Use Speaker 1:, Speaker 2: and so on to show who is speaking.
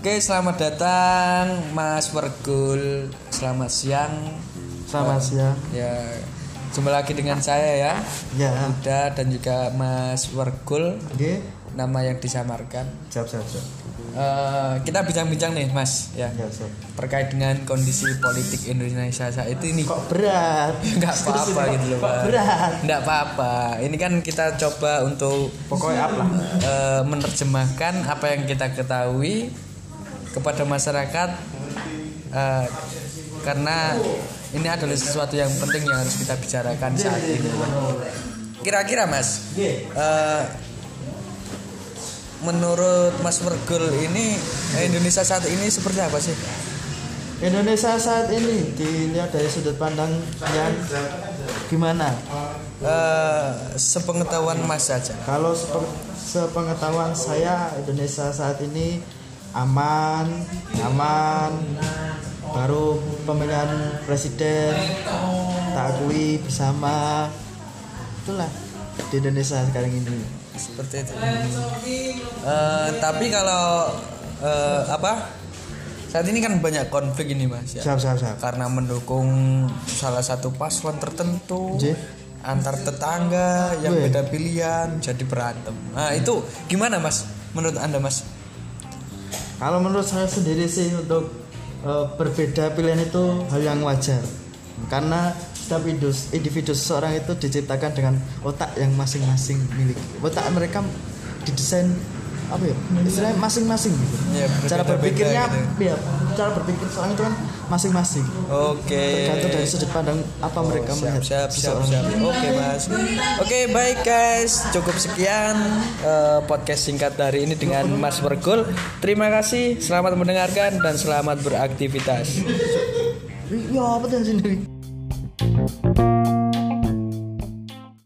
Speaker 1: Oke, selamat datang Mas Wergul. Selamat siang.
Speaker 2: Selamat
Speaker 1: Eh,
Speaker 2: siang.
Speaker 1: Ya, jumpa lagi dengan saya ya.
Speaker 2: Ya.
Speaker 1: Uda dan juga Mas Wergul,
Speaker 2: Oke.
Speaker 1: nama yang disamarkan.
Speaker 2: Siap, siap, siap.
Speaker 1: Eh, kita bincang-bincang nih, Mas, ya.
Speaker 2: Ya, siap.
Speaker 1: Terkait dengan kondisi politik Indonesia saat ini.
Speaker 2: Kok berat?
Speaker 1: Nggak apa-apa gitu loh,
Speaker 2: Kok
Speaker 1: Pak.
Speaker 2: berat?
Speaker 1: Nggak apa-apa. Ini kan kita coba untuk
Speaker 2: Pokoknya up lah.
Speaker 1: eh, menerjemahkan apa yang kita ketahui kepada masyarakat eh, karena ini adalah sesuatu yang penting yang harus kita bicarakan saat ini. Kira-kira Mas, eh, menurut Mas Wergul ini eh, Indonesia saat ini seperti apa sih?
Speaker 2: Indonesia saat ini dilihat dari sudut pandang yang gimana?
Speaker 1: Eh, sepengetahuan Mas saja.
Speaker 2: Kalau sepe- sepengetahuan saya Indonesia saat ini aman, aman. Baru pemilihan presiden tak akui bersama. Itulah di Indonesia sekarang ini.
Speaker 1: seperti itu. Eh, tapi kalau eh, apa? Saat ini kan banyak konflik ini mas ya.
Speaker 2: Siap, siap, siap.
Speaker 1: Karena mendukung salah satu paslon tertentu
Speaker 2: Jih.
Speaker 1: antar tetangga yang
Speaker 2: Weh.
Speaker 1: beda pilihan jadi berantem. Nah itu gimana mas? Menurut anda mas?
Speaker 2: Kalau menurut saya sendiri sih untuk eh, berbeda pilihan itu hal yang wajar karena setiap indus- individu seorang itu diciptakan dengan otak yang masing-masing miliki. Otak mereka didesain apa ya? Istilahnya masing-masing gitu.
Speaker 1: Ya, berbeda-beda
Speaker 2: cara berpikirnya
Speaker 1: gitu.
Speaker 2: ya, cara berpikir seorang itu kan masing-masing.
Speaker 1: Oke. Oh,
Speaker 2: Tergantung dari sudut pandang apa mereka
Speaker 1: siap
Speaker 2: melihat
Speaker 1: siap siap
Speaker 2: seseorang.
Speaker 1: siap oke mas oke baik guys cukup sekian eh, podcast singkat hari ini dengan mas Pergul terima kasih selamat mendengarkan dan selamat beraktivitas
Speaker 2: Iya, Ih, Ya, apa tuh yang sendiri?